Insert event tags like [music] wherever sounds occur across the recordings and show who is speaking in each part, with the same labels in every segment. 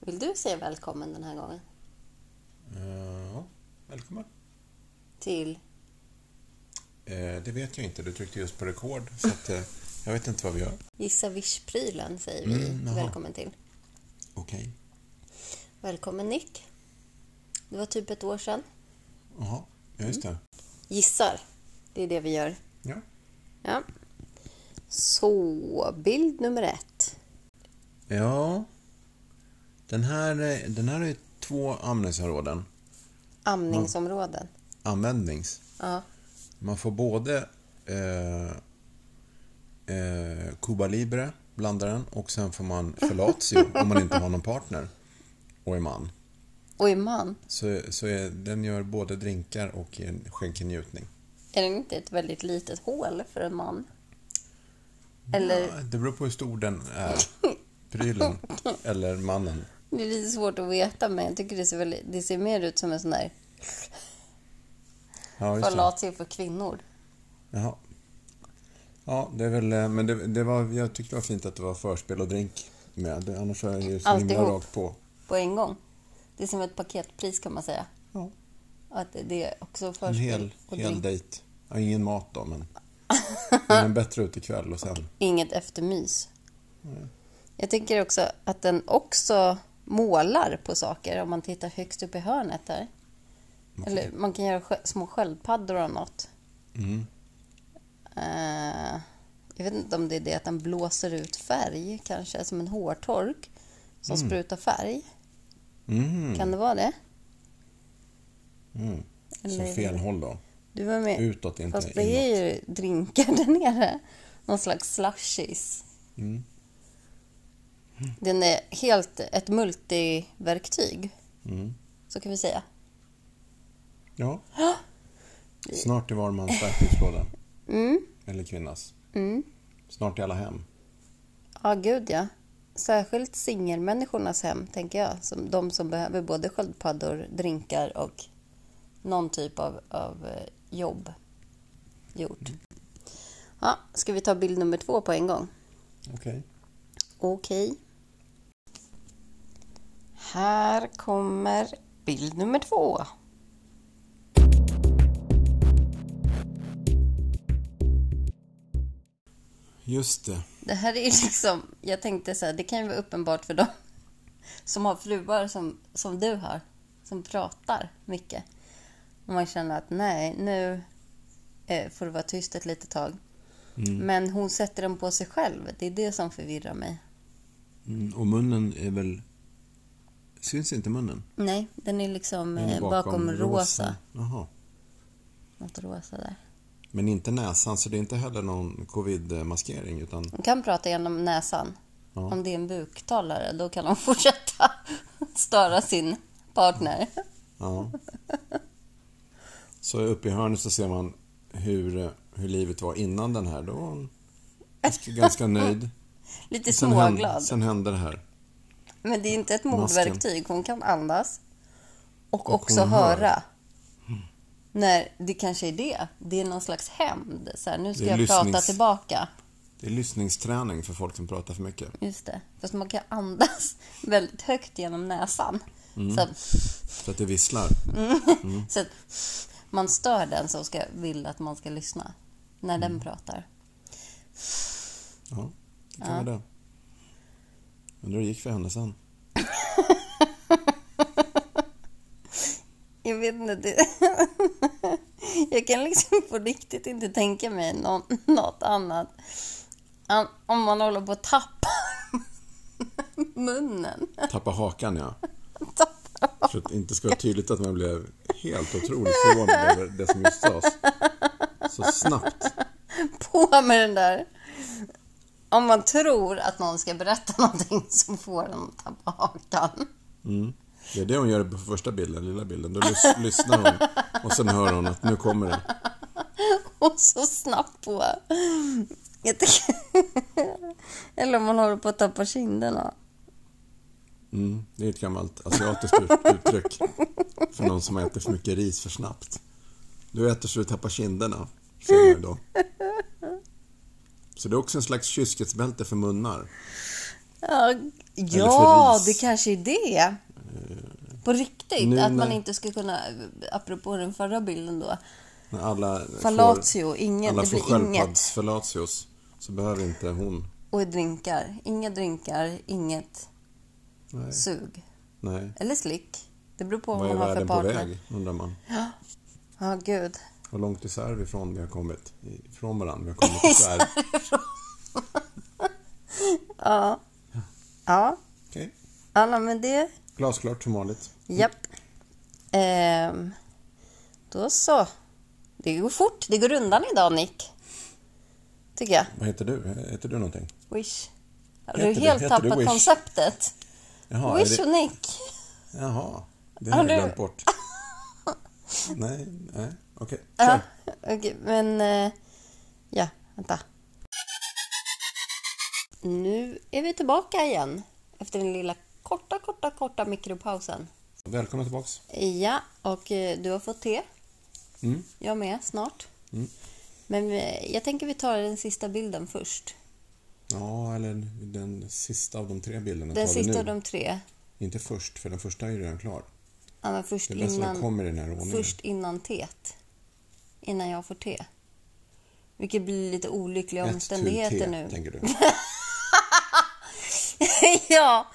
Speaker 1: Vill du säga välkommen den här gången?
Speaker 2: Eh, Ja, välkommen.
Speaker 1: Till...
Speaker 2: Eh, Det vet jag inte. Du tryckte just på rekord. Så att, eh, jag vet inte vad vi gör.
Speaker 1: Gissa visch-prylen säger vi
Speaker 2: Mm, jaha.
Speaker 1: välkommen till.
Speaker 2: Okej.
Speaker 1: Välkommen Nick. Det var typ ett år sedan.
Speaker 2: Jaha, ja just det.
Speaker 1: Gissar. Det är det vi gör.
Speaker 2: Ja.
Speaker 1: Ja. Så, bild nummer ett.
Speaker 2: ja. Den här, eh, den här är två amningsområden.
Speaker 1: Amningsområden.
Speaker 2: Användnings.
Speaker 1: Ja.
Speaker 2: Man får både eh, eh, Cuba Libre, blandaren, och sen får man fellatio om man inte har någon partner och är man.
Speaker 1: Och är man,
Speaker 2: Så, så är, den gör både drinkar och en- skänker njutning.
Speaker 1: är den inte ett väldigt litet hål för en man? Eller,
Speaker 2: Ja, det beror på hur stor den är. Prylen eller mannen.
Speaker 1: det är lite svårt att veta men jag tycker det ser, väldigt, det ser mer ut som en sån där
Speaker 2: Ja, just det.
Speaker 1: fallatio för kvinnor.
Speaker 2: Jaha. Ja, det är väl... eh, Men det, det var, jag tyckte det var fint att det var förspel och drink med. Det- Annars är det ju så himla
Speaker 1: Alltihop.
Speaker 2: rakt på.
Speaker 1: på en gång. Det är som ett paketpris kan man säga.
Speaker 2: Ja,
Speaker 1: Att det är också
Speaker 2: en
Speaker 1: förspel
Speaker 2: hel,
Speaker 1: och
Speaker 2: hel
Speaker 1: drink.
Speaker 2: dejt. Ja, ingen mat
Speaker 1: [laughs]
Speaker 2: då, men... men en bättre utekväll och sen...
Speaker 1: Inget eftermys.
Speaker 2: Mm.
Speaker 1: Jag tänker också att den också målar på saker om man tittar högst upp i hörnet där. Eller man kan göra skö- små sköldpaddor av något.
Speaker 2: Mm.
Speaker 1: Eh, jag vet inte om det är det att den blåser ut färg kanske, som en hårtork som sprutar färg.
Speaker 2: Mm.
Speaker 1: Kan det vara det?
Speaker 2: Mm. Så
Speaker 1: Eller-
Speaker 2: fel håll då.
Speaker 1: Du var med.
Speaker 2: Utåt, inte
Speaker 1: Fast det är ju drinkar [laughs] där nere. Någon slags slushies.
Speaker 2: Mm.
Speaker 1: Den är helt ett multiverktyg,
Speaker 2: Mm.
Speaker 1: så kan vi säga.
Speaker 2: Ja. Snart i var mans verktygslåda.
Speaker 1: Mm,
Speaker 2: Eller kvinnas.
Speaker 1: mm.
Speaker 2: Snart i alla hem.
Speaker 1: Ja, gud ja. Särskilt singelmänniskornas hem, tänker jag. Som de som behöver både sköldpaddor, drinkar och någon typ av, av eh, jobb gjort. Ja, ska vi ta bild nummer två på en gång?
Speaker 2: Okej.
Speaker 1: Okej. Här kommer bild nummer två.
Speaker 2: Just det.
Speaker 1: Det här är [laughs] liksom, jag tänkte så här, det kan ju vara uppenbart för dem [laughs] som har fruar som, som du har, som pratar mycket. Och man känner att nej, nu eh, får det vara tyst ett litet tag. Men hon sätter den på sig själv, det är det som förvirrar mig.
Speaker 2: Mm, och munnen är väl... Syns inte munnen?
Speaker 1: Nej, den är liksom
Speaker 2: Den är
Speaker 1: eh, bakom, rosa.
Speaker 2: Jaha.
Speaker 1: Något rosa där.
Speaker 2: Men inte näsan, så det är inte heller någon covid-maskering utan...
Speaker 1: Hon kan prata genom näsan.
Speaker 2: Ja.
Speaker 1: Om det är en buktalare, då kan hon [laughs] fortsätta störa sin partner. [laughs]
Speaker 2: Ja. Så uppe i hörnet så ser man hur, hur livet var innan den här. Då var hon ganska, ganska nöjd.
Speaker 1: [laughs] Lite
Speaker 2: Sen hände-
Speaker 1: småglad.
Speaker 2: sen hände det här.
Speaker 1: Men det är inte ett
Speaker 2: Masken.
Speaker 1: mordverktyg. Hon kan andas och,
Speaker 2: Och
Speaker 1: också
Speaker 2: hon hör. Mm.
Speaker 1: höra. När det kanske är det. Det är någon slags hämnd. Så här, nu ska
Speaker 2: Det är
Speaker 1: jag prata
Speaker 2: lyssnings-
Speaker 1: tillbaka.
Speaker 2: Det är lyssningsträning för folk som pratar för mycket.
Speaker 1: Just det. Fast man kan andas [laughs] väldigt högt genom näsan.
Speaker 2: Mm.
Speaker 1: Så, att,
Speaker 2: Så att det visslar. Mm.
Speaker 1: [laughs] så att man stör den som ska, vill att man ska lyssna. När
Speaker 2: Mm.
Speaker 1: den pratar.
Speaker 2: Ja, det kan vara det. Undrar hur det gick för henne sen.
Speaker 1: Jag vet inte. Det... [laughs] Jag kan liksom på riktigt inte tänka mig nå- något annat. än Om man håller på att tappa [laughs] munnen.
Speaker 2: Tappa hakan, ja.
Speaker 1: Tappa.
Speaker 2: För att det inte ska vara tydligt att man blev helt otroligt förvånad över det som just sades. Så snabbt.
Speaker 1: På med den där. Om man tror att någon ska berätta någonting så får den tappa hakan. [laughs]
Speaker 2: Det är det hon gör på första bilden, lilla bilden. Då lys- lyssnar hon och sen hör hon att nu kommer det.
Speaker 1: Och så snabbt på. Jag tycker... [laughs] Eller om man håller på att tappa kinderna.
Speaker 2: Mm, det är ett gammalt asiatiskt ut- uttryck för någon som äter för mycket ris för snabbt. Du äter så du tappar kinderna, säger man ju då. Så det är också en slags kyskhetsbälte för munnar.
Speaker 1: Ja, ja
Speaker 2: för ris.
Speaker 1: det kanske är det.
Speaker 2: Eh,
Speaker 1: På riktigt,
Speaker 2: nu
Speaker 1: att man
Speaker 2: när-
Speaker 1: inte ska kunna, eh, apropå den förra bilden då.
Speaker 2: När alla
Speaker 1: Fallatio,
Speaker 2: får,
Speaker 1: ingen,
Speaker 2: alla
Speaker 1: det
Speaker 2: får
Speaker 1: blir inget.
Speaker 2: sköldpaddsfellatios så behöver inte hon.
Speaker 1: Och drinkar. Inga drinkar, inget
Speaker 2: Nej.
Speaker 1: sug.
Speaker 2: Nej.
Speaker 1: Eller slick. Det beror på vad
Speaker 2: Vad är
Speaker 1: man har för
Speaker 2: världen på
Speaker 1: partner.
Speaker 2: väg, undrar man.
Speaker 1: Ja, gud.
Speaker 2: Hur långt isär vi ifrån vi har kommit. Ifrån varandra vi
Speaker 1: [laughs]
Speaker 2: har kommit isär.
Speaker 1: Ja. Ja,
Speaker 2: Okej.
Speaker 1: alla med det.
Speaker 2: Glasklart som vanligt.
Speaker 1: Japp. Ehm, då så. Det går fort. Det går undan idag, Nick. Tycker jag.
Speaker 2: Vad heter du? Heter du någonting?
Speaker 1: Wish. Har du
Speaker 2: Heter det-
Speaker 1: helt
Speaker 2: heter det
Speaker 1: tappat
Speaker 2: Wish?
Speaker 1: konceptet?
Speaker 2: Jaha, är
Speaker 1: wish
Speaker 2: det,
Speaker 1: och Nick.
Speaker 2: jaha. det
Speaker 1: Har
Speaker 2: har jag
Speaker 1: du- [laughs]
Speaker 2: glömt bort. Nej, nej, okej.
Speaker 1: Ja,
Speaker 2: Kör.
Speaker 1: okej, men... eh, Ja, vänta. Nu är vi tillbaka igen efter den lilla korta, korta, korta mikropausen.
Speaker 2: Välkomna tillbaks.
Speaker 1: Ja, och eh, du har fått te.
Speaker 2: Mm.
Speaker 1: Jag med, snart.
Speaker 2: Mm.
Speaker 1: Men eh, jag tänker vi tar den sista bilden först.
Speaker 2: Ja, eller den sista av de tre bilderna
Speaker 1: Den
Speaker 2: tar vi
Speaker 1: sista
Speaker 2: nu.
Speaker 1: av de tre.
Speaker 2: Inte först, för den första är ju redan klar.
Speaker 1: Ja, men först
Speaker 2: Det är bäst att de
Speaker 1: innan...
Speaker 2: kommer i den här ordningen.
Speaker 1: Först innan teet. Innan jag får te. Vilket blir lite olyckliga
Speaker 2: Ett tu
Speaker 1: omständigheter [laughs]
Speaker 2: te,
Speaker 1: nu.
Speaker 2: tänker du.
Speaker 1: ja.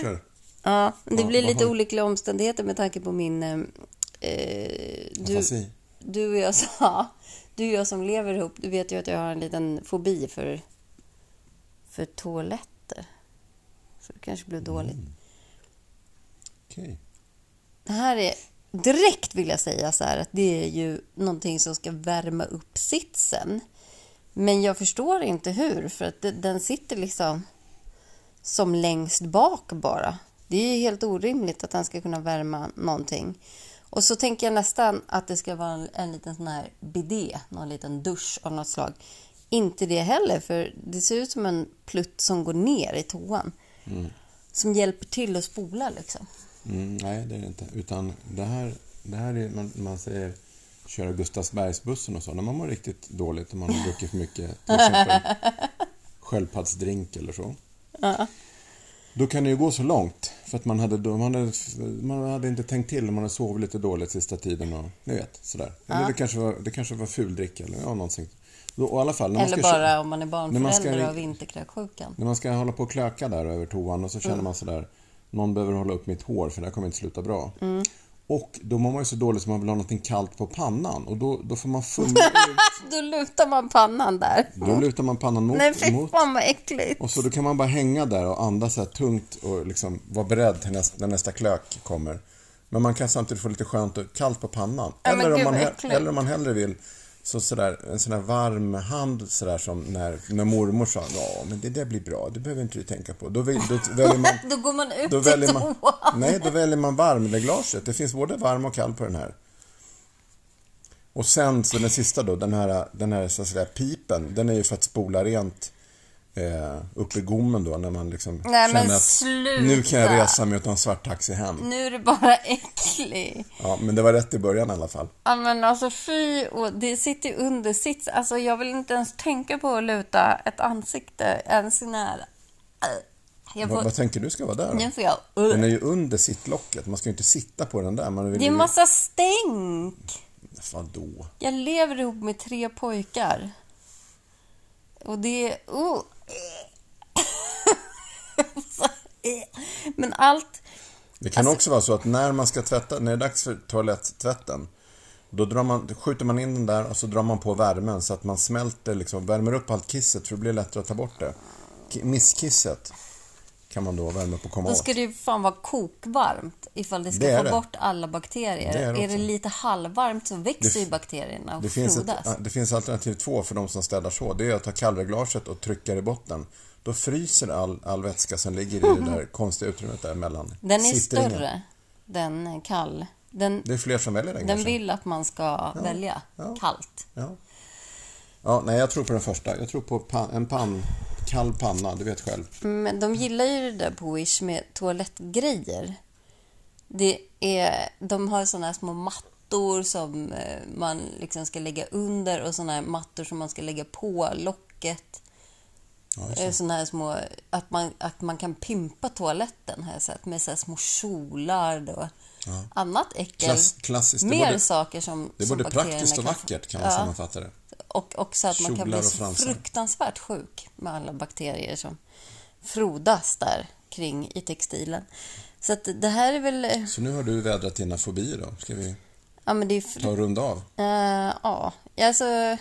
Speaker 2: Kör.
Speaker 1: ja, men det
Speaker 2: Ja,
Speaker 1: blir
Speaker 2: vad
Speaker 1: lite
Speaker 2: har-
Speaker 1: olyckliga omständigheter med tanke på min... eh, Eh, du,
Speaker 2: Fantasi.
Speaker 1: du och [laughs] jag sa, du och jag som lever ihop, du vet ju att jag har en liten fobi för, för toaletter. Så det kanske blev dåligt.
Speaker 2: Okej.
Speaker 1: Det här är direkt vill jag säga så här att det är ju någonting som ska värma upp sitsen. Men jag förstår inte hur för att det- den sitter liksom som längst bak bara. Det är ju helt orimligt att den ska kunna värma någonting. Och så tänker jag nästan att det ska vara en, en liten sån här bidé, någon liten dusch av något slag. Inte det heller för det ser ut som en plutt som går ner i toan. Som hjälper till att spola liksom.
Speaker 2: Mm, nej, det är det inte. Utan det här, det här är, man, man säger köra Gustavsbergsbussen och så, när man mår riktigt dåligt, om man har druckit för mycket,
Speaker 1: [laughs]
Speaker 2: till exempel sköldpaddsdrink eller så. Då kan det ju gå så långt, för att man hade, då, man hade, man hade inte tänkt till om man hade sovit lite dåligt sista tiden och ni vet, sådär. Eller det kanske var, det kanske var fuldricka eller ja, någonting. Då, och i alla fall, när man
Speaker 1: Eller
Speaker 2: ska kö-
Speaker 1: bara om man är
Speaker 2: när man ska
Speaker 1: barnförälder
Speaker 2: ri-
Speaker 1: av vinterkräksjukan.
Speaker 2: När man ska hålla på och klöka där över toan och så
Speaker 1: Mm.
Speaker 2: känner man sådär, någon behöver hålla upp mitt hår för det här kommer inte sluta bra.
Speaker 1: Mm.
Speaker 2: Och då mår man ju så dåligt så man vill ha någonting kallt på pannan och då, då
Speaker 1: [laughs]
Speaker 2: får man fumla ut.
Speaker 1: Då lutar man pannan där.
Speaker 2: Då lutar man pannan mot,
Speaker 1: Nej fy
Speaker 2: mot
Speaker 1: fan vad äckligt.
Speaker 2: och så då kan man bara hänga där och andas så här tungt och liksom vara beredd till nästa, när nästa klök kommer. Men man kan samtidigt få lite skönt och kallt på pannan.
Speaker 1: Ja, men
Speaker 2: eller, om
Speaker 1: gud,
Speaker 2: man,
Speaker 1: vad
Speaker 2: hell-
Speaker 1: äckligt.
Speaker 2: eller om man hellre vill så sådär, en sån här varm hand sådär som när, när mormor sa ja men det där blir bra, det behöver inte du tänka på. Då, vill, då väljer man
Speaker 1: Då går man ut
Speaker 2: då
Speaker 1: i
Speaker 2: väljer man,
Speaker 1: toan.
Speaker 2: nej, då väljer man varmreglaget. Det finns både varm och kall på den här. Och sen så den sista då, den här, den här så att säga, pipen, den är ju för att spola rent eh, upp i gommen då när man liksom
Speaker 1: Nej, men
Speaker 2: känner att
Speaker 1: sluta.
Speaker 2: nu kan jag resa mig och ta en svart taxi hem.
Speaker 1: Nu är det bara äcklig.
Speaker 2: Ja, men det var rätt i början i alla fall.
Speaker 1: Ja men alltså fy, och det sitter ju under sits. Alltså jag vill inte ens tänka på att luta ett ansikte ens i nära. Jag
Speaker 2: Vad,
Speaker 1: får,
Speaker 2: vad tänker du ska vara där då?
Speaker 1: nu får jag...
Speaker 2: Den är ju under sittlocket, man ska ju inte sitta på den där. Man vill
Speaker 1: Det är
Speaker 2: ju...
Speaker 1: massa stänk.
Speaker 2: Vadå?
Speaker 1: Jag lever ihop med tre pojkar. Och det är... Oh. [laughs] Men allt...
Speaker 2: Det kan också vara så att när man ska tvätta, när det är dags för toalettvätten, då, drar man, då skjuter man in den där och så drar man på värmen så att man smälter, liksom, värmer upp allt kisset för det blir lättare att ta bort det. Ki- Misskisset kan man då värma upp och komma
Speaker 1: Då
Speaker 2: åt.
Speaker 1: ska det ju fan vara kokvarmt ifall det ska
Speaker 2: Det är
Speaker 1: få
Speaker 2: det.
Speaker 1: bort alla bakterier.
Speaker 2: Det är
Speaker 1: är,
Speaker 2: det
Speaker 1: det
Speaker 2: också.
Speaker 1: lite halvvarmt så växer
Speaker 2: Det
Speaker 1: ju
Speaker 2: f-
Speaker 1: bakterierna och
Speaker 2: Det finns, ett,
Speaker 1: frodas.
Speaker 2: det finns alternativ två för de som städar så. Det är att ta kallreglaget och trycka i botten. Då fryser all, all vätska som ligger i det
Speaker 1: [laughs]
Speaker 2: där konstiga utrymmet där mellan.
Speaker 1: Den är
Speaker 2: sittringen.
Speaker 1: större, den kall. Den,
Speaker 2: Det är fler som väljer den,
Speaker 1: den
Speaker 2: kanske.
Speaker 1: vill att man ska välja
Speaker 2: ja.
Speaker 1: kallt.
Speaker 2: Ja. ja, nej jag tror på den första. Jag tror på pan, en pann, kall panna, du vet själv.
Speaker 1: Men de gillar ju det där på Wish med toalettgrejer. Det är, de har såna här små mattor som eh, man liksom ska lägga under och såna här mattor som man ska lägga på locket.
Speaker 2: Ja,
Speaker 1: Eh,
Speaker 2: just det.
Speaker 1: Såna här små, att man, att man kan pimpa toaletten har jag sett med så här små kjolar och
Speaker 2: Ja.
Speaker 1: annat äckel.
Speaker 2: Klass, klassiskt. Det
Speaker 1: Mer
Speaker 2: är både,
Speaker 1: saker som
Speaker 2: det är
Speaker 1: som
Speaker 2: både
Speaker 1: bakterierna
Speaker 2: praktiskt och
Speaker 1: kan-
Speaker 2: vackert kan man
Speaker 1: Ja.
Speaker 2: sammanfatta det.
Speaker 1: Och också att man kan
Speaker 2: Kjolar
Speaker 1: bli
Speaker 2: och
Speaker 1: så
Speaker 2: fransar.
Speaker 1: fruktansvärt sjuk med alla bakterier som frodas där kring i textilen. Så att det här är väl...
Speaker 2: Så nu har du vädrat dina fobier då. Ska vi
Speaker 1: Ja, men det är
Speaker 2: ta
Speaker 1: fru-
Speaker 2: och runda av?
Speaker 1: Eh, ja, alltså...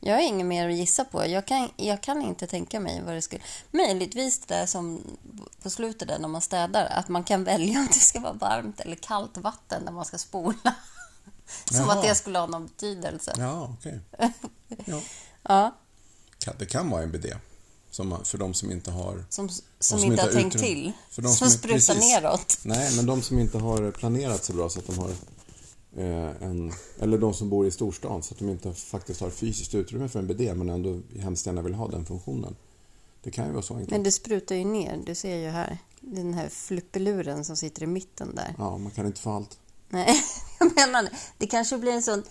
Speaker 1: Jag har inget mer att gissa på. Jag kan, jag kan inte tänka mig vad det skulle... Möjligtvis det där som på slutet där när man städar, att man kan välja [laughs] om det ska vara varmt eller kallt vatten när man ska spola. [laughs] Som
Speaker 2: Jaha.
Speaker 1: att det skulle ha någon betydelse.
Speaker 2: Ja, okej. Ja.
Speaker 1: Ja,
Speaker 2: Kan- Det kan vara en bidé. Som, man- för de som inte har...
Speaker 1: som, som, inte,
Speaker 2: som inte
Speaker 1: har
Speaker 2: har
Speaker 1: tänkt
Speaker 2: utrymme.
Speaker 1: till.
Speaker 2: För de
Speaker 1: som
Speaker 2: som är-
Speaker 1: sprutar
Speaker 2: precis.
Speaker 1: neråt.
Speaker 2: Nej, men de som inte har planerat så bra så att de har eh, en... Eller de som bor i storstan så att de inte faktiskt har fysiskt utrymme för en bidé men ändå hemskt gärna vill ha den funktionen. Det kan ju vara så enkelt.
Speaker 1: Men det sprutar ju ner, du ser ju här. Den här fluppeluren som sitter i mitten där.
Speaker 2: Ja, man kan inte få allt.
Speaker 1: Nej, [laughs] jag menar det. Det kanske blir en sån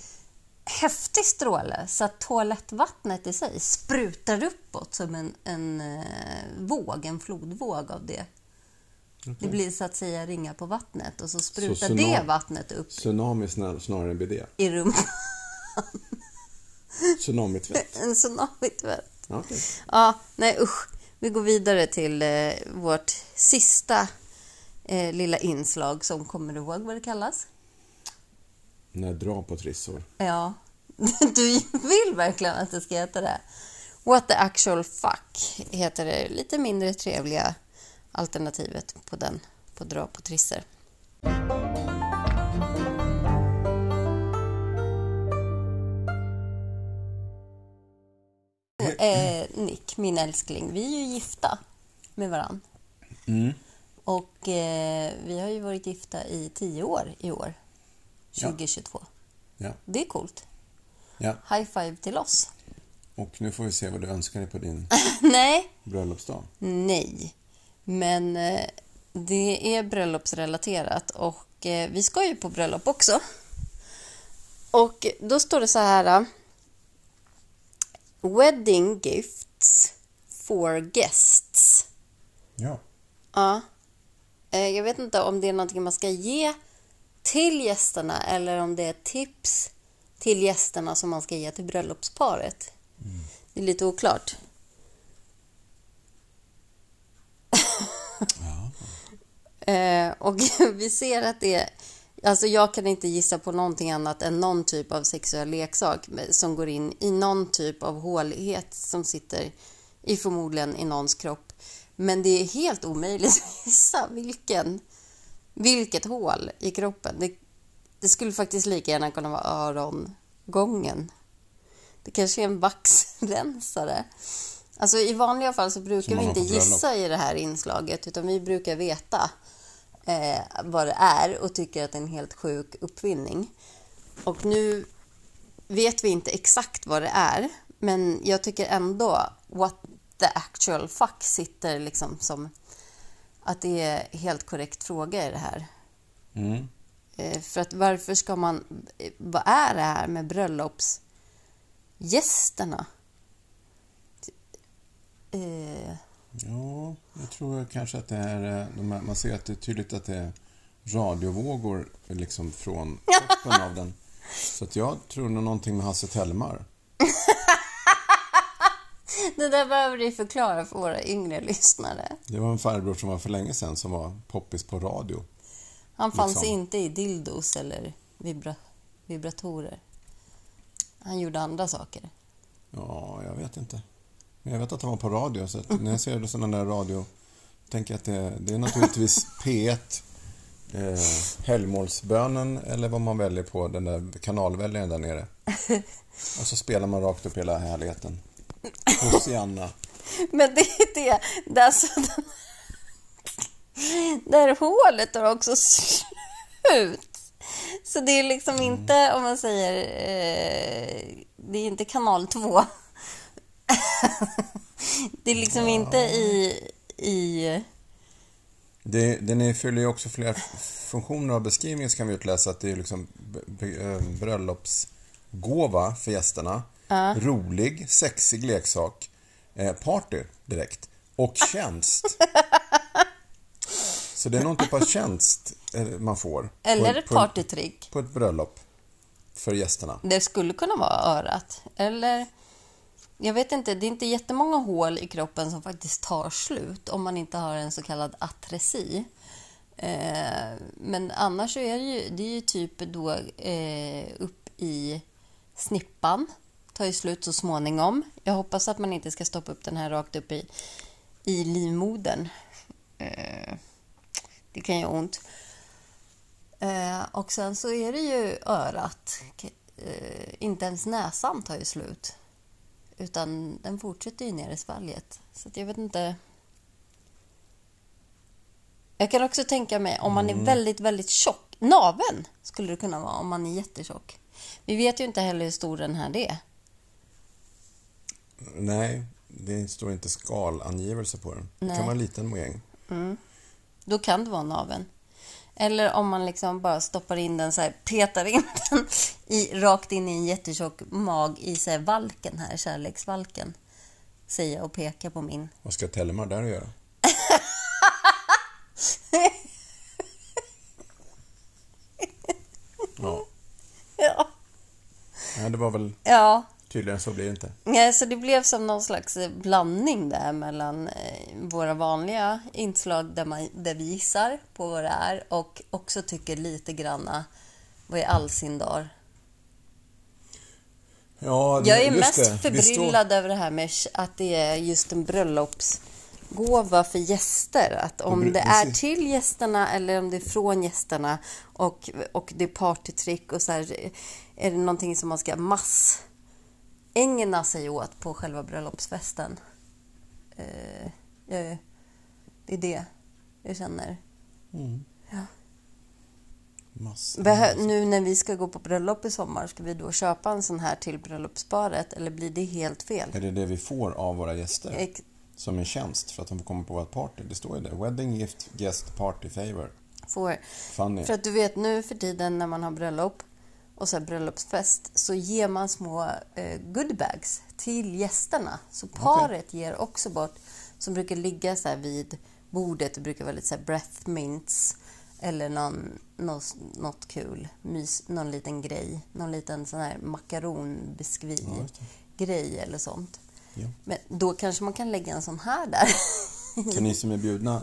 Speaker 1: häftig stråle så att toalettvattnet i sig sprutar uppåt som en, en eh, våg, en flodvåg av det. Det blir så att säga ringa på vattnet och så sprutar det
Speaker 2: tsunami-
Speaker 1: vattnet upp
Speaker 2: Tsunami snar- snarare än bidé.
Speaker 1: i rummet. [laughs]
Speaker 2: Tsunamitvätt.
Speaker 1: En tsunamitvätt.
Speaker 2: Ja, okej.
Speaker 1: Ja, nej usch. Vi går vidare till eh, vårt sista eh, lilla inslag som kommer du ihåg vad det kallas?
Speaker 2: När jag drar på trissor.
Speaker 1: Ja, [laughs] du vill verkligen att det ska heta det. What the actual fuck heter det lite mindre trevliga alternativet på den, på dra på trisser. Och, eh, Nick, min älskling, vi är ju gifta med varann. Och eh, vi har ju varit gifta i tio år i år,
Speaker 2: Ja.
Speaker 1: 2022.
Speaker 2: Ja,
Speaker 1: Det är coolt.
Speaker 2: ja.
Speaker 1: High five till oss. [laughs]
Speaker 2: Och nu får vi se vad du önskar dig på din
Speaker 1: nej,
Speaker 2: bröllopsdag.
Speaker 1: nej. Men eh, det är bröllopsrelaterat och eh, vi ska ju på bröllop också. Och då står det så här. eh, Wedding gifts for guests.
Speaker 2: Ja.
Speaker 1: Ja. Eh, Jag vet inte om det är någonting man ska ge till gästerna eller om det är tips till gästerna som man ska ge till bröllopsparet. Det är lite oklart.
Speaker 2: ja.
Speaker 1: Eh, och [laughs] vi ser att det är... Alltså jag kan inte gissa på någonting annat än någon typ av sexuell leksak med- som går in i någon typ av hålighet som sitter i förmodligen i någons kropp. Men det är helt omöjligt [laughs] att gissa vilken, vilket hål i kroppen. Det, det skulle faktiskt lika gärna kunna vara örongången. Det kanske är en vaxrensare. Alltså i vanliga fall så brukar
Speaker 2: Som
Speaker 1: vi
Speaker 2: man har
Speaker 1: inte
Speaker 2: på bröllop.
Speaker 1: gissa i det här inslaget utan vi brukar veta eh, vad det är och tycker att det är en helt sjuk uppfinning. Och nu vet vi inte exakt vad det är, men jag tycker ändå what the actual fuck sitter liksom som att det är helt korrekt fråga i det här.
Speaker 2: Mm.
Speaker 1: Eh, För att varför ska man... eh, Vad är det här med bröllopsgästerna? Eh,
Speaker 2: Ja, jag tror kanske att det är... eh, De här, man ser att det är tydligt att det är radiovågor liksom från toppen av den. Så att jag tror nog någonting med Hasse Telmar.
Speaker 1: Det där behöver du förklara för våra yngre lyssnare.
Speaker 2: Det var en farbror som var för länge sedan som var poppis på radio.
Speaker 1: Han fanns
Speaker 2: Liksom.
Speaker 1: inte i dildos eller vibra vibratorer. Han gjorde andra saker.
Speaker 2: Ja, jag vet inte. Men jag vet att han var på radio, så att när jag ser sådana där radio tänker jag att det, det är naturligtvis P1, eh, Helgmålsbönen eller vad man väljer på den där kanalväljaren där nere. Och så spelar man rakt upp hela härligheten. Hosianna.
Speaker 1: Men det är det. Det, är alltså den... det här hålet har också slut. Så det är liksom
Speaker 2: Mm.
Speaker 1: inte, om man säger, eh, det är inte kanal 2. [laughs] det är liksom inte i, i...
Speaker 2: Det, den är- fyller ju också flera funktioner av beskrivningen så kan vi utläsa att det är liksom b- b- eh, bröllopsgåva för gästerna. Rolig, sexig leksak. eh, party direkt.
Speaker 1: [laughs]
Speaker 2: Och tjänst. Så det är någon typ av tjänst eh, man får.
Speaker 1: Eller
Speaker 2: på,
Speaker 1: ett
Speaker 2: på,
Speaker 1: partytrick.
Speaker 2: på ett bröllop. För gästerna.
Speaker 1: Det skulle kunna vara örat. Eller, jag vet inte, det är inte jättemånga hål i kroppen som faktiskt tar slut om man inte har en så kallad atresi. Eh, men annars så är det ju, det är ju typ då eh, upp i snippan. Tar ju slut så småningom. Jag hoppas att man inte ska stoppa upp den här rakt upp i, i livmodern. Eh, det kan göra ont. Eh, och sen så är det ju örat. K- Eh, inte ens näsan tar ju slut. Utan den fortsätter ju ner i svalget. Så att jag vet inte. Jag kan också tänka mig om man är väldigt, väldigt tjock. Naven skulle det kunna vara om man är jättetjock. Vi vet ju inte heller hur stor den här är.
Speaker 2: Nej, det står inte skalangivelse på den. Det
Speaker 1: Nej.
Speaker 2: kan vara en liten mängd.
Speaker 1: Då kan det vara naveln. Eller om man liksom bara stoppar in den så här, petar in [laughs] den i, rakt in i en jättetjock mag i så här, valken här, kärleksvalken. Säger jag och pekar på min.
Speaker 2: Vad ska Tellemar där
Speaker 1: [laughs]
Speaker 2: att göra? ja,
Speaker 1: Ja.
Speaker 2: nej, det var väl
Speaker 1: ja.
Speaker 2: tydligen så blir det inte.
Speaker 1: Nej, så det blev som någon slags eh, blandning där mellan eh, våra vanliga inslag där, man, där vi gissar på vad det är och också tycker lite granna vad i all sin dar.
Speaker 2: Ja, det-
Speaker 1: Jag är mest
Speaker 2: just det. Vi
Speaker 1: förbryllad över det här med sh- att det är just en bröllopsgåva för gäster. Att om
Speaker 2: bru-
Speaker 1: det är
Speaker 2: precis.
Speaker 1: till gästerna eller om det är från gästerna och, och det är partytrick och så här. Är det någonting som man ska mass ägna sig åt på själva bröllopsfesten? Eh, jag, det är det jag känner.
Speaker 2: står massa-
Speaker 1: Behö- nu när vi ska gå på bröllop i sommar, ska vi då köpa en sån här till bröllopsparet eller blir det helt fel?
Speaker 2: Är det det vi får av våra gäster?
Speaker 1: Ex-
Speaker 2: Som en tjänst för att de får komma på vårt party. Det står ju där. Wedding gift guest party favor.
Speaker 1: får.
Speaker 2: Funny.
Speaker 1: För att du vet nu för tiden när man har bröllop och så här bröllopsfest så ger man små eh, goodbags till gästerna. Så paret ger också bort, som brukar ligga så här vid bordet, det brukar vara lite så här breath mints eller någon, något, något kul, mys, någon liten grej, någon liten sån här
Speaker 2: Ja, just
Speaker 1: makaronbiskvi-grej eller sånt.
Speaker 2: Ja.
Speaker 1: Men då kanske man kan lägga en sån här där [laughs]
Speaker 2: Så ni som är bjudna,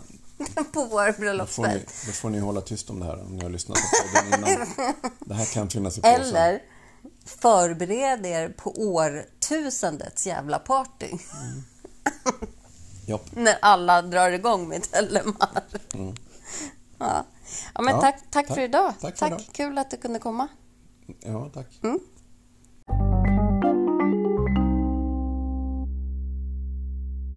Speaker 1: på vår
Speaker 2: då får, ni,
Speaker 1: bröllopsfest.
Speaker 2: då får ni hålla tyst om det här om ni har lyssnat på podden
Speaker 1: [laughs]
Speaker 2: innan. Det här kan finnas i påsen.
Speaker 1: Eller förbered er på årtusendets jävla party. [laughs]
Speaker 2: Japp.
Speaker 1: När alla drar igång med Tellemar. Ja. Ja, men
Speaker 2: Ja,
Speaker 1: tack, tack,
Speaker 2: Mm. tack.
Speaker 1: för idag.
Speaker 2: Tack för idag.
Speaker 1: Kul att du kunde komma.
Speaker 2: Ja, tack.
Speaker 1: Mm.